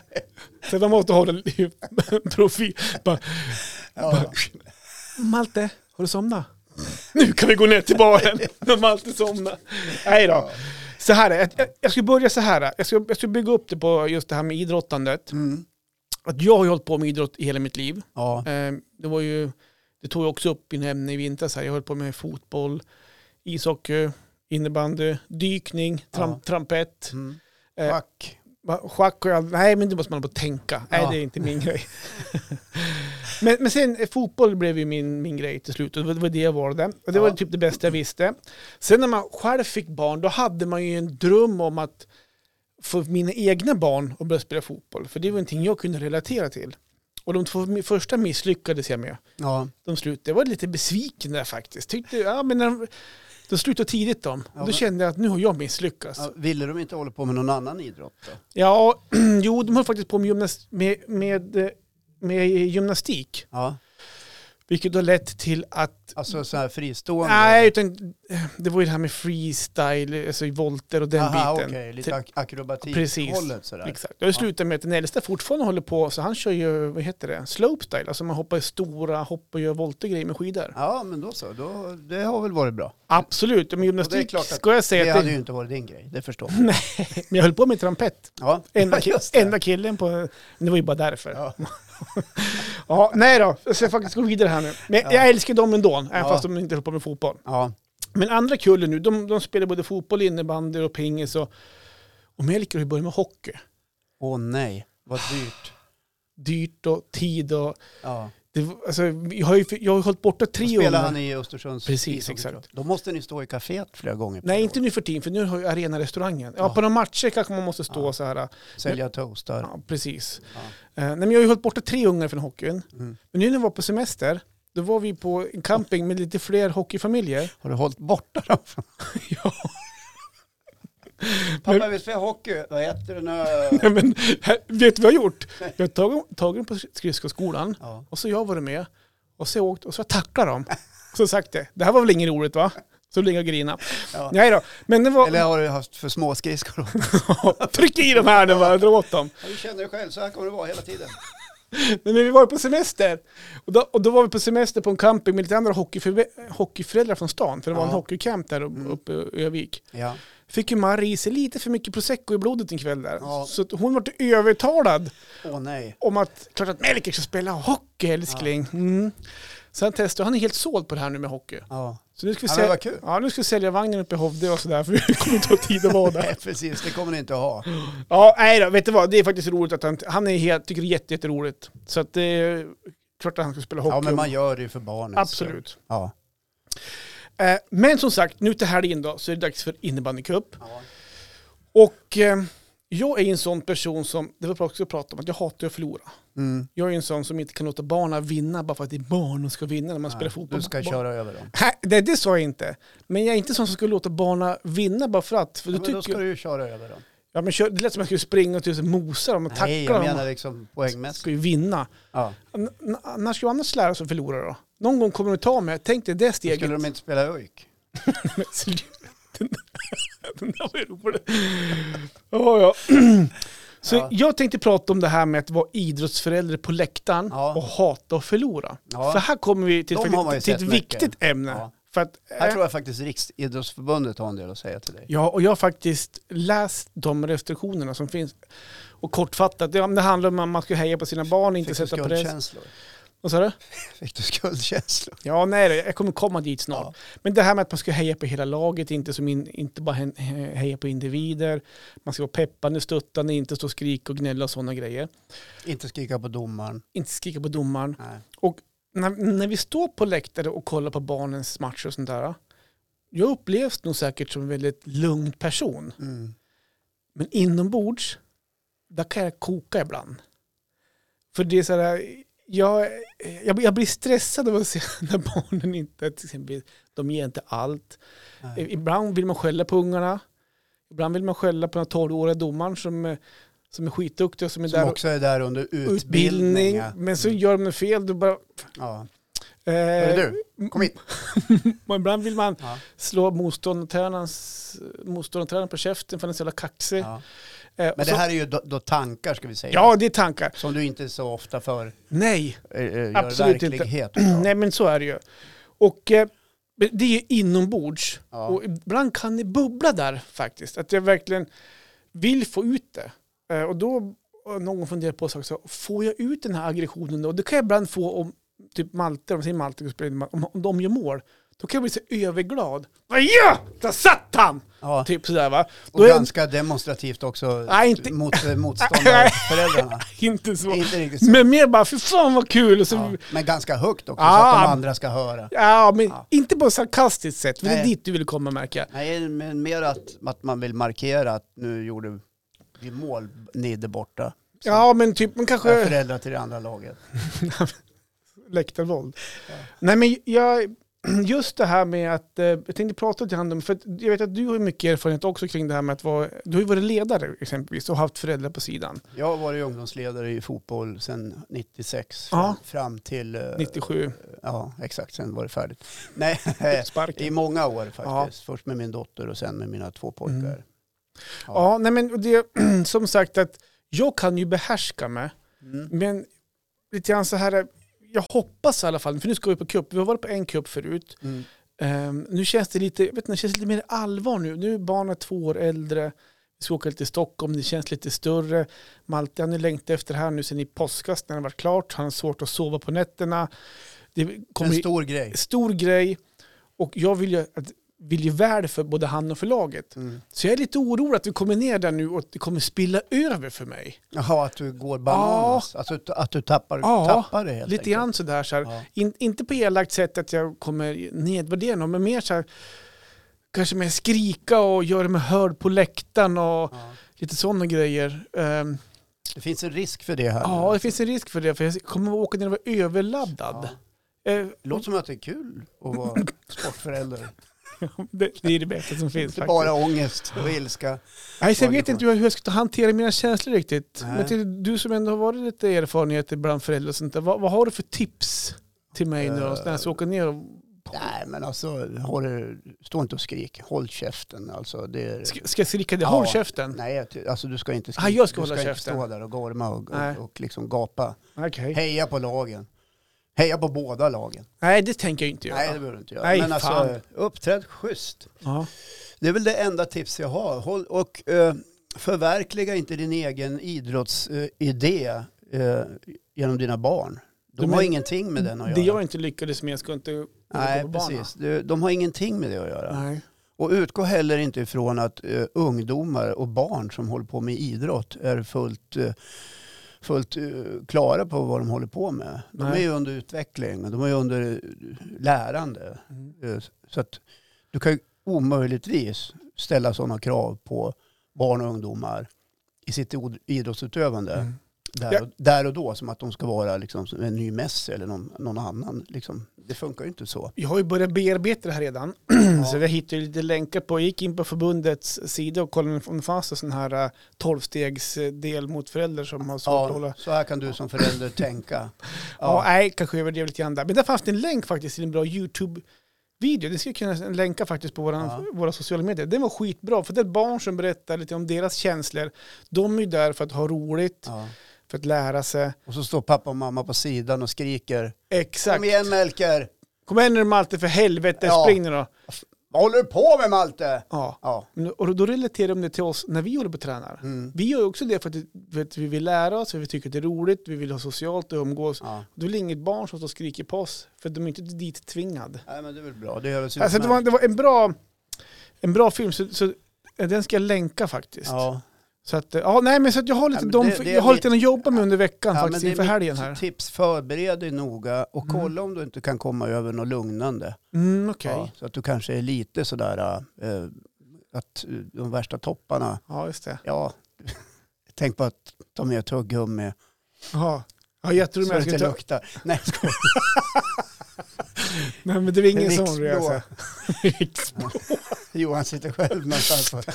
Så de måste hålla li- profil. Bara,
Ja.
Malte, har du somnat? Nu kan vi gå ner till baren när Malte somnar. Nej då. Så här, är- jag, jag ska börja så här. Jag ska, jag ska bygga upp det på just det här med idrottandet.
Mm.
Att jag har ju hållit på med idrott i hela mitt liv.
Ja.
Eh, Det var ju, det tog jag också upp i en ämne i vintras. här. Jag höll på med fotboll, ishockey, innebandy, dykning, tram,
Ja.
trampett.
Mm.
Eh,
Schack.
Va- Schack och allt. Nej, men det måste man bara tänka. Nej,
Ja.
det är inte min grej. men, men sen eh, fotboll blev ju min, min grej till slut. Och det var- det var det jag valde. Och det var
Ja.
typ det bästa jag visste. Sen när man själv fick barn, då hade man ju en dröm om att få mina egna barn att börja spela fotboll. För det var någonting jag kunde relatera till. Och de två mi- första misslyckades jag med.
Ja.
De slutade. Jag var lite besviken där faktiskt. Tyckte, ja, men när de, de slutade tidigt de.
Ja,
och då
men-
kände jag att nu har jag misslyckats.
Ja, Ville de inte hålla på med någon annan idrott då?
Ja, jo, de höll faktiskt på med, gymnas- med, med, eh, med gymnastik.
Ja.
Vilket har lett till att...
Alltså så här fristående?
Nej, utan eh, det var ju det här med freestyle, alltså i volter och den
Aha,
biten.
okej. Lite ak akrobatik
Precis. Liksom.
hållet sådär.
Exakt. Jag slutade med att den äldsta fortfarande håller på, så han kör ju, vad heter det, slopestyle. Alltså man hoppar i stora hopp och gör voltergrejer med skidor.
Ja, men då så. Då, det har väl varit bra.
Absolut, men
Och det är
gymnastik
klart att
ska jag
Det
säga att
hade
det,
ju inte varit din grej, det förstår jag.
men jag höll på med trampett.
Ja,
Enda, ki-
just det.
enda killen på... Men det var ju bara därför.
Ja.
Ja. nej då. Jag ska faktiskt gå vidare här nu. Men
Ja.
jag älskar dem ändå, även
Ja.
fast de inte höll på med fotboll.
Ja,
Men andra kullen nu, de, de spelar både fotboll, innebandy och pingis. Och, och Melker har ju börjat med hockey.
åh nej, vad dyrt.
Dyrt och tid och...
Ja.
Det, var- alltså, jag, har ju, jag har ju hållit borta tre år.
Spelar han
nu.
i Östersunds
Precis,
ishockeytråd?
exakt.
Då måste ni stå i kaféet flera gånger. per
Nej,
år.
inte nu för tiden, för nu har ju arenarestaurangen. Ja,
Ja.
på några matcher kanske man måste stå
Ja.
så här.
Sälja toastar.
Ja, precis.
Ja.
Eh, nej, men jag har ju hållit borta tre ungar från hockeyn.
Mm.
Men nu när vi var på semester, då var vi på en camping med lite fler hockeyfamiljer.
Har du hållit borta dem? från-
Ja.
Pappa, vi spelar hockey. Vad heter den? här?
Nej, men, här, vet du vad jag har gjort? Jag har tagit, tagit dem på skridskoskolan
Ja.
och så har jag varit med och så har jag åkt och så har jag tacklat dem. Så sagt det. Det här var väl inget roligt va? Så ligger jag och grinar.
Ja.
Nej då, men det
Eller
var...
har du haft för små skridskor?
Tryck i dem här nu bara, dra åt dem.
Ja, Du känner dig själv, så här kommer det vara hela tiden.
Men när vi var på semester, och då, och då var vi på semester på en camping med lite andra hockeyförve- hockeyföräldrar från stan, för det var en
Ja. Mm.
hockeycamp där uppe uppe i Övik.
Ja.
fick ju Marie i sig lite för mycket prosecco i blodet en kväll där.
Ja.
Så att hon vart övertalad
Åh nej.
om att klart att Melker ska spela hockey älskling. Mm. Så han testade, han är helt såld på det här nu med hockey.
Ja.
Så nu ska vi,
Ja, men
sälja,
vad kul.
ja, nu ska vi sälja vagnen uppe i Hovde och sådär för vi kommer inte ha tid att vara där.
Nej, precis. Det kommer ni inte att ha.
Ja, nej då, vet du vad, det är faktiskt roligt att han, han är helt, tycker det är jätte, jätteroligt. Så att det är klart att han ska spela hockey.
Ja, men man gör det ju för barnen. så-
Absolut.
Ja.
Eh, men som sagt, nu till helgen då så är det dags för innebandycup.
Ja.
Och eh, jag är ju en sån person som, det var bra också att prata om, att jag hatar att förlora.
Mm.
Jag är ju en sån som inte kan låta barnen vinna bara för att det är barn som ska vinna när man spelar
Nej,
fotboll.
Du ska
Barn-
köra över dem.
Nej, det, det sa jag inte. Men jag är inte sån som skulle låta barnen vinna bara för att. För
Ja,
då
men då
tycker
ska
jag,
du ju köra över dem.
ja, men kör, det lät som att jag skulle springa och typ mosa dem och tackla
Nej, jag
dem.
menar liksom
Jag
poängmässigt.
ska ju vinna.
Ja.
N- n- när ska jag annars lära sig att förlora då? Någon gång kommer de ta mig. Tänk dig det steget.
Skulle de inte spela ÖIK?
Men sluta. Den där- Den där var ju rolig. Ja, ja. Så
Ja.
jag tänkte prata om det här med att vara idrottsförälder på läktaren
Ja.
och hata och förlora.
Ja.
För här kommer vi till,
De
faktiskt-
har man ju
till ett
sett
viktigt
mycket.
ämne.
Ja.
För att,
Här
eh,
tror jag faktiskt Riksidrottsförbundet har en del att säga till dig.
ja, och jag har faktiskt läst de restriktionerna som finns. Och kortfattat, det det handlar om att man ska heja på sina barn, inte
Fick du
sätta press.
skuldkänslor?
Vad sa du?
Fick du skuldkänslor?
Ja, nej, då, jag kommer komma dit snart.
Ja.
Men det här med att man ska heja på hela laget, inte, som in, inte bara hen- he- heja på individer. Man ska vara peppande, stöttande, inte stå och skrika och gnälla och sådana grejer.
Inte skrika på domaren.
Inte skrika på domaren.
Nej.
När, när vi står på läktare och kollar på barnens matcher och sånt där, jag upplevs nog säkert som en väldigt lugn person.
Mm.
Men inombords, där kan jag koka ibland. För det är så här, jag, jag, jag blir stressad av att se när barnen inte, till exempel, de ger inte allt.
Nej.
Ibland vill man skälla på ungarna. Ibland vill man skälla på den 12-åriga domaren som eh, som är skitduktiga som är
Som
där
också är där under
och-
utbildning.
utbildning.
ja.
Men så gör de fel. Då bara,
Ja. Hörru
eh,
du, kom hit.
och ibland vill man
Ja.
slå motståndartränarens- motståndartränaren på käften för den är så jävla kaxig.
Ja.
Eh,
Men
och
det
så-
här är ju då, då tankar ska vi säga.
Ja, det är tankar.
Som du inte så ofta för
Nej,
eh, eh, gör
Absolut inte.
verklighet utav.
nej men så är det ju. Och eh, men det är ju inombords.
Ja.
Och ibland kan det bubbla där faktiskt. Att jag verkligen vill få ut det. Eh, och då har någon funderar på saker, så får jag ut den här aggressionen då? Det kan jag ibland få om typ Malte, om säger Malte, och spelar in, om, om de gör mål. Då kan jag bli så överglad. Vad gör? Där satt han!
Ja.
Typ sådär va. Då
Och
är jag
ganska demonstrativt också
Nej, inte-
mot eh, motståndarföräldrarna.
inte så.
inte riktigt så.
Men mer bara, för fan vad kul! Och så,
Ja. Men ganska högt också så
Ah.
att de andra ska höra.
Ja, men
Ja.
inte på ett sarkastiskt sätt, för det är
Nej.
dit du vill komma märker jag.
Nej, men mer att, att man vill markera att nu gjorde vi mål nere borta. Så
Ja, men typ, man
jag är
kanske...
föräldrar till det andra laget.
Läktarvåld. Nej, men jag... Just det här med att, eh, jag tänkte prata till honom, för att jag vet att du har ju mycket erfarenhet också kring det här med att vara, du har ju varit ledare exempelvis och haft föräldrar på sidan,
Jag har varit ungdomsledare i fotboll sedan 96
Ja.
fram, fram till... eh,
97,
Ja, exakt. Sen var det färdigt. Nej, i
sparken.
många år faktiskt.
Ja.
Först med min dotter och sen med mina två pojkar.
Mm. Ja, nej men och det, som sagt att jag kan ju behärska mig,
Mm.
men lite grann så här, eh, jag hoppas i alla fall, för nu ska vi på cup, vi har varit på en cup förut,
Mm.
Ehm, nu känns det lite, jag vet inte, det känns lite mer allvar nu. Nu är barnen två år äldre. Vi ska åka lite till Stockholm, det känns lite större. Malte han har längtat efter det här nu sen i påskas när det var klart. Han har svårt att sova på nätterna. Det kommer
En
bli
stor grej.
en stor grej. Och jag vill ju, att, vill ju väl för både han och för laget.
Mm.
Så jag är lite orolig att vi kommer ner där nu och att det kommer spilla över för mig.
Jaha, att du går bananas. Alltså att du- att du tappar,
Ja,
tappar det helt
Lite
enkelt.
grann sådär. Så här,
Ja.
in, inte på elakt sätt att jag kommer nedvärdera någon, men mer så här, kanske mer skrika och göra mig hörd på läktaren och
Ja.
lite sådana grejer. Ehm,
Det finns en risk för det här.
ja, det finns en risk för det, för jag kommer åka ner och vara överladdad.
Ja.
Eh,
Det låter som att det är kul att vara sportförälder.
det, det är det bästa som finns
Inte
faktiskt.
bara ångest och ilska.
Nej, så jag
Lagerfors.
vet inte hur jag ska hantera mina känslor riktigt.
Nej.
Men till, du som ändå har varit lite erfarenhet bland föräldrar och sånt där, vad, vad har du för tips till mig nu då, när
Eh,
jag ska åka ner och...
Nej, men alltså, håll, det- stå inte och skrik. Håll käften. Alltså, det är,
Ska, ska jag skrika det?
Ja.
Håll käften!
Nej, jag ty- alltså, du ska inte skrika.
Ah, jag ska
du
hålla
ska inte
käften.
stå där och gorma och,
Nej.
och, och liksom gapa.
Okej.
Heja på lagen. Heja på båda lagen.
Nej, det tänker jag inte göra.
Nej, det behöver du inte göra.
Nej,
men alltså,
fan.
uppträd schysst.
ja.
Det är väl det enda tips jag har. Håll, och eh, förverkliga inte din egen idrottsidé eh, genom dina barn. De
Du
har
men-
ingenting med den att
Det
göra.
jag inte lyckades med ska inte gå
Nej,
på banan.
precis. Du, de har ingenting med det att göra.
Nej.
Och utgå heller inte ifrån att eh, ungdomar och barn som håller på med idrott är fullt, eh, fullt eh, klara på vad de håller på med. De
Nej.
är ju under utveckling, och de är ju under eh, lärande.
Mm.
Eh, Så att du kan ju omöjligtvis ställa sådana krav på barn och ungdomar i sitt od- idrottsutövande
Mm.
där,
Ja.
och, där och då, som att de ska vara liksom, som en ny Messi eller någon, någon annan. Liksom. Det funkar ju inte så.
Jag har ju börjat bearbeta det här redan. Så jag hittade lite länkar på, jag gick in på förbundets sida och kollade om det fanns en sån här eh, tolvstegsdel mot föräldrar som har svårt att hålla.
Ja, så här kan du som förälder tänka.
Ja. nej, kanske jag överdrev lite grann där. Men där fanns det en länk faktiskt till en bra YouTube-video. Det skulle jag kunna länka faktiskt på våran,
Ja.
våra sociala medier. Den var skitbra, för det är barn som berättar lite om deras känslor. De är ju där för att ha roligt,
Ja.
för att lära sig.
Och så står pappa och mamma på sidan och skriker.
Exakt.
Kom igen Melker!
Kom igen nu Malte, för helvete,
Ja.
spring nu då.
Vad håller du på med Malte?
Ja.
Ja.
Men- Och då relaterar de det till oss när vi håller på och tränar.
Mm.
Vi gör ju också det för att, för att vi vill lära oss, för att vi tycker att det är roligt, vi vill ha socialt och umgås.
ja.
Då är det inget barn som står och skriker på oss, för de är inte dit tvingad.
Nej men det är väl bra. Det gör oss
Alltså det var,
utmärkt.
det var en, bra, en bra film, så, så den ska jag länka faktiskt.
Ja.
Så att, ja, nej, men så att jag har lite,
Ja, men
de,
det- det är
jag har
mitt-
lite att jobba med under veckan
Ja,
faktiskt,
men det
inför
är
helgen
mitt
här.
Tips, förbered dig noga och kolla om du inte kan komma över något lugnande.
Mm, Okej,
Ja, så att du kanske är lite sådär, eh, att eh, de värsta topparna,
ja just det.
ja, tänk på att ta med tuggummi
Ja, ja jag tror
så det
jag ska
inte
ta,
luktar. Nej, jag skojar.
Nej, men det var ingen sån
Riksblå.
resa.
Johan sitter själv någonstans och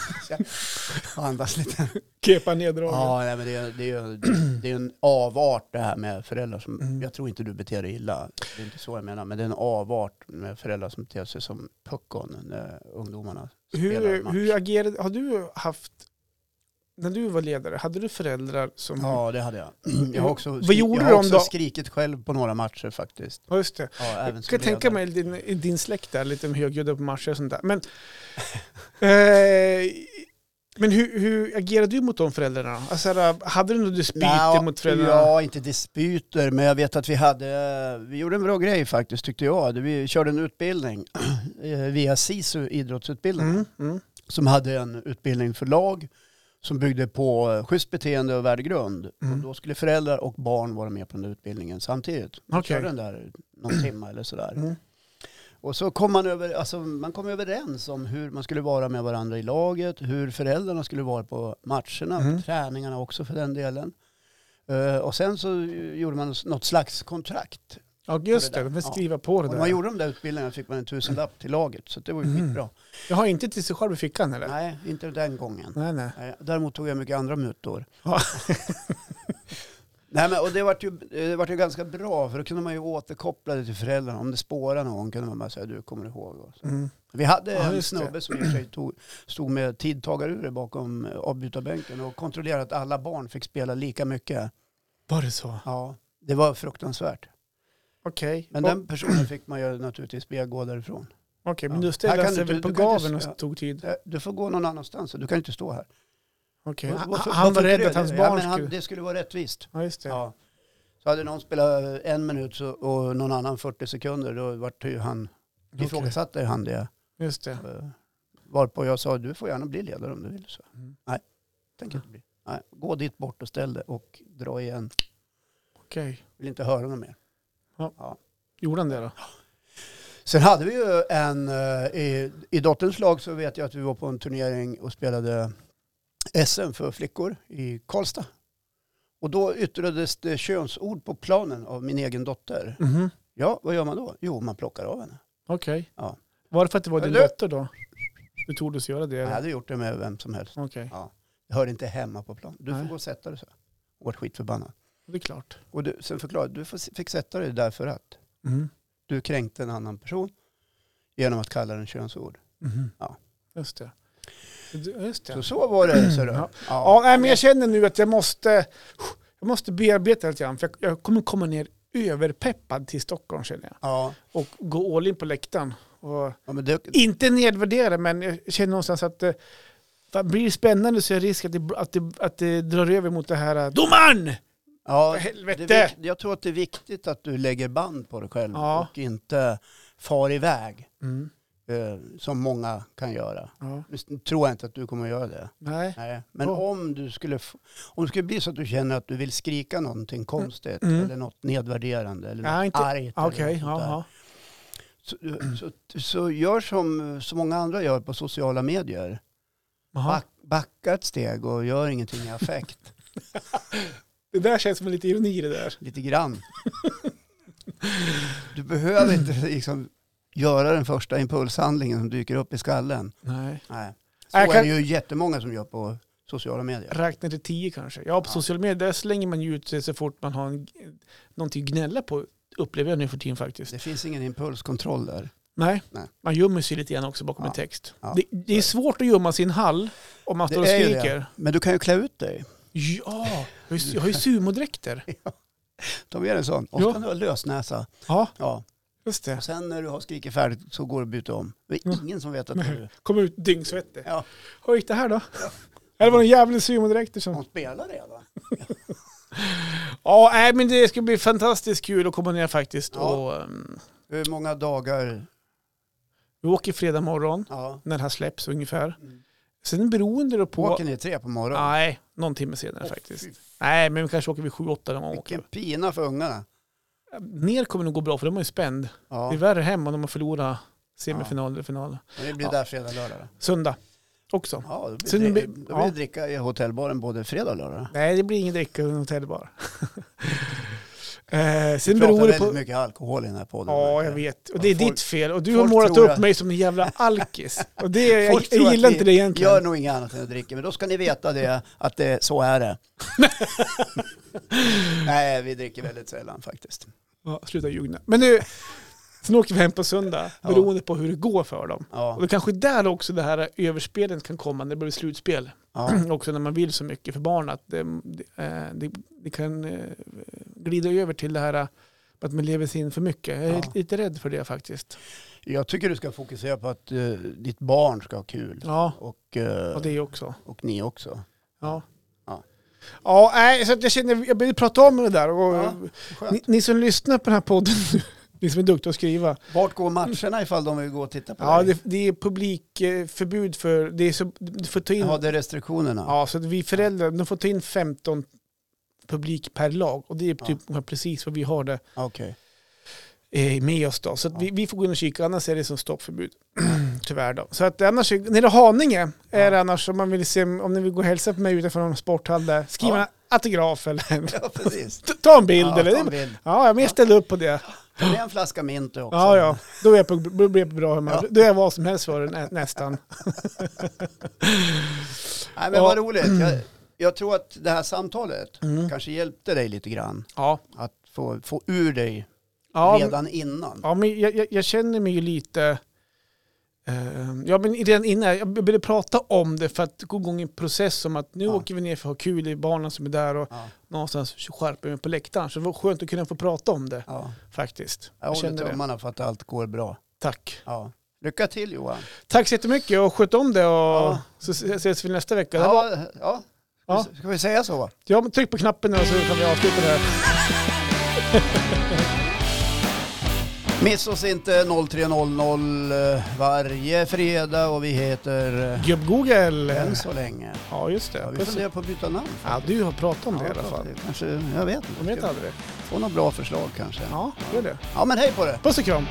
och andas lite.
Kepa neddragen.
Ja, nej, men det, är, det, är, det är en avart det här med föräldrar som,
Mm.
jag tror inte du beter dig illa, det är inte så jag menar, men det är en avart med föräldrar som beter sig som puckon när ungdomarna spelar
hur,
match.
hur agerade, har du haft, när du var ledare, hade du föräldrar som,
Ja, det hade jag. Jag har också,
Vad
skri-
gjorde
jag har
de
också
då?
skrikit själv på några matcher faktiskt.
ja just det.
Ja, även
Jag kan
som
tänka
ledare.
mig din, i din släkt där, lite högljudda på marscher och sånt där. Men, eh, men hur, hur agerade du mot de föräldrarna? Alltså, här, hade du något dispyter
Nja,
mot föräldrarna?
Ja, inte dispyter, men jag vet att vi hade, vi gjorde en bra grej faktiskt tyckte jag. Vi körde en utbildning eh, via SISU idrottsutbildning
Mm, mm.
som hade en utbildning för lag som byggde på eh, schysst beteende och värdegrund.
Mm.
Och då skulle föräldrar och barn vara med på den utbildningen samtidigt. Vi
Okej.
körde den där någon timme eller sådär.
Mm.
Och så kom man, över, alltså, man kom överens om hur man skulle vara med varandra i laget, hur föräldrarna skulle vara på matcherna,
Mm.
på träningarna också för den delen. Eh, och sen så gjorde man något slags kontrakt.
Ja, just
det där.
det. Men
Ja.
skriva på det
Och när man
där.
gjorde de där utbildningarna fick man en tusenlapp till laget, så det var ju
Mm.
skitbra.
Jag har inte till sig själv i fickan eller?
Nej, inte den gången.
nej. nej.
Nej, Däremot tog jag mycket andra mutor.
Ja.
Nej, men, och det vart, ju, det vart ju ganska bra, för då kunde man ju återkoppla det till föräldrarna. Om det spårade någon kunde man bara säga, du kommer ihåg. Och så.
Mm.
Vi hade
Ja,
en
just det.
snubbe som i och för sig tog, stod med tidtagarurer bakom eh, avbytarbänken och kontrollerade att alla barn fick spela lika mycket.
Var det så?
Ja, det var fruktansvärt.
Okej.
Men
Och-
den personen fick man ju naturligtvis be gå därifrån.
Okej, men
Ja.
du
Här
ställde
kan
sig
du-
väl på
du kan inte
gaveln
s- ja.
och tog tid?
Eh, Du får gå någon annanstans, du kan inte stå här.
Okej.
Varför-
Han,
varför-
han var
varför inte
rädd att
det?
hans
Ja,
barn
men han-
skulle...
Det skulle vara rättvist.
Ja, just det.
Ja. Så hade någon spelat en minut så, och någon annan 40 sekunder, då vart det ju han,
Okej,
ifrågasatte han det.
Just det.
Eh, Varpå jag sa, du får gärna bli ledare om du vill. Så.
Mm.
Nej, tänker inte bli. Nej, gå dit bort och ställ dig och dra igen.
Okej.
Vill inte höra något mer.
Gjorde han det då?
Sen hade vi ju en, eh, i, i dotterns lag så vet jag att vi var på en turnering och spelade SM för flickor i Karlstad. Och då yttrades det könsord på planen av min egen dotter.
Mhm.
Ja, vad gör man då? Jo, man plockar av henne.
Okej.
Ja.
Var det för att det var din
Eller?
dotter då? Du tog dig göra det?
Jag
eller?
hade gjort det med vem som helst.
Okej,
Jag hör inte hemma på plan. Du får
Nej.
gå och sätta dig så. Och vart skitförbannad.
det är klart.
Och du, sen förklarade du får- fick sätta dig därför att
Mm.
du kränkte en annan person genom att kalla den könsord.
Mhm.
Ja.
Just det. Du- Just det.
Så så var det. Så
Ja.
då.
Ja, nej, men jag känner nu att jag måste, jag måste bearbeta lite grann. För jag, jag kommer komma ner överpeppad till Stockholm känner jag.
ja.
Och gå all in på läktaren. Och
ja, men det,
inte nedvärdera, men jag känner någonstans att eh, vad blir det spännande så är risk att det, att, det, att det drar över mot det här eh, domaren!
ja,
För helvete!
det är vik- jag tror att det är viktigt att du lägger band på dig själv
Ja.
och inte far iväg
Mm.
eh, som många kan göra.
Ja.
Nu tror jag inte att du kommer att göra det.
Nej.
Nej. Men
Ja.
om, du skulle, f- om det skulle bli så att du känner att du vill skrika någonting konstigt
Mm.
eller något nedvärderande eller något
Nej, inte-
argt. eller
Ah, Okej,
något sånt
ja,
där,
ja.
Så, så, så gör som eh, så många andra gör på sociala medier.
Jaha.
Back, backa ett steg och gör ingenting i affekt.
Det där känns som lite ironi det där.
Lite grann. Du behöver inte liksom, göra den första impulshandlingen som dyker upp i skallen.
Nej.
Nej. Så
Jag
är
kan-
det ju jättemånga som gör på sociala medier.
Räkna till tio kanske. Ja, på
Ja.
sociala medier där slänger man ju ut sig så fort man har en, någonting att gnälla på, upplever jag nu för tiden faktiskt.
Det finns ingen impulskontroll där.
Nej,
Nej.
man gömmer sig lite grann också bakom
Ja.
en text.
Ja.
Det, det är svårt att gömma sin hall om man
Det
står och
är ju
skriker.
Men du kan ju klä ut dig.
Ja, jag har ju- jag har ju sumodräkter.
Ta är en sån. Och så
Ja.
kan du ha lösnäsa.
Ja,
Ja.
just det.
Och sen när du har skrikit färdigt så går du och byter om. Det
Ja.
är ingen som vet att du...
Kom ut dyngsvettig.
Ja.
Hur gick det här då? Eller var det en jävla sumodräkter som...
De spelar redan.
Ja, nej, men det ska bli fantastiskt kul att komma ner faktiskt.
Ja.
Och, ehm,
Hur många dagar?
vi åker fredag morgon
Ja.
när det här släpps ungefär.
Mm.
Sen beroende då på...
Åker ni tre på morgonen?
Nej, någon timme senare
Åh,
faktiskt.
fy,
Nej, men vi kanske åker vid 7-8 när man åker.
Vilken pina för ungarna.
Ner kommer nog gå bra för de är ju spänd.
Ja.
Det är värre hemma när man förlorar semifinal eller final.
men Det blir
Ja.
där fredag och lördag. då.
Söndag också.
Ja, då
Så
blir
ni
det,
blir-
då blir
ja.
det dricka i hotellbaren både fredag och lördag.
Nej, det blir ingen dricka i en hotellbar. Eh,
Vi
sen
pratar
beror det
väldigt
på...
mycket alkohol i den här podden.
Ja,
märker
jag vet. Och det är
Folk-
ditt fel. Och du har
folk
målat
tror
upp
att-
mig som en jävla alkis. Och det, jag,
Folk tror
jag
att
gillar
vi
inte det egentligen.
Gör nog inget annat än att dricka, men då ska ni veta det, att det, så är det. Nej, vi dricker väldigt sällan faktiskt.
Ja, sluta ljugna. Men nu, sen åker vi hem på söndag,
Ja.
beroende på hur det går för dem. Och
Ja,
det kanske är där också det här överspelet kan komma när det blir slutspel.
ja.
Också när man vill så mycket för barn att det, det, eh, det, det kan eh, glida över till det här eh, att man lever sig in för mycket. Jag är
Ja.
lite rädd för det faktiskt.
Jag tycker du ska fokusera på att eh, ditt barn ska ha kul.
Ja,
Och, eh,
och det också.
och ni också.
Ja.
Ja.
Ja, nej, så att jag känner, jag vill prata om det där. Och,
Ja, skönt.
ni, ni som lyssnar på den här podden, ni som är duktiga att skriva,
Vart går matcherna ifall de vill gå och titta på
Ja,
dig?
det, det är publikförbud för, det är så, du får ta in,
Ja,
ja,
det är restriktionerna.
så att vi föräldrar, de får ta in 15 publik per lag och det är
Ja.
typ precis vad vi har det
Okej.
eh, med oss då. Så att
Ja.
vi, vi får gå in och kika, annars är det som stoppförbud. Tyvärr då. Så att annars, när det är Haninge är det annars om man vill se, om ni vill gå och hälsa på mig utanför någon sporthall där, skriv
Ja.
en autograf eller
Ja, precis.
ta en bild
Ja,
eller
ta en bild.
Ja, men jag ställer upp på det.
Ta med en flaska mint också.
Ja, ja. Då är jag på, då blir jag på bra humör.
Ja.
Då är jag vad som helst för det nä, nästan.
Nej, men
Ja. Mm.
vad roligt. Jag, jag tror att det här samtalet kanske hjälpte dig lite grann.
Ja.
Att få, få ur dig
Ja, men-
redan innan.
ja men jag, jag, jag känner mig ju lite... eh, ja, men redan innan, jag började prata om det för att gå igång i en process om att nu
Ja.
åker vi ner för att ha kul, det är barnen som är där och
Ja,
någonstans skärper mig på läktaren. Så det var skönt att kunna få prata om det
ja.
faktiskt.
Jag
Jag
håller
kände det.
tummarna för att allt går bra.
Tack.
Ja. Lycka till Johan.
Tack så jättemycket och sköt om det och
Ja.
så ses vi nästa vecka. Det var-
Ja, ja.
Ja.
Ska vi säga så?
Ja, men tryck på knappen nu så kan vi avsluta det här.
Missa oss inte 03.00 eh, varje fredag och vi heter eh,
Gubb-Google.
än så länge.
Ja, just det.
Ja, vi
Puss.
funderar på att byta namn.
Ja, du har pratat om det i alla fall.
det Kanske, jag vet
De vet
inte.
aldrig det.
Få några bra förslag kanske.
Ja, gör det.
Ja men hej på det.
Puss och kram.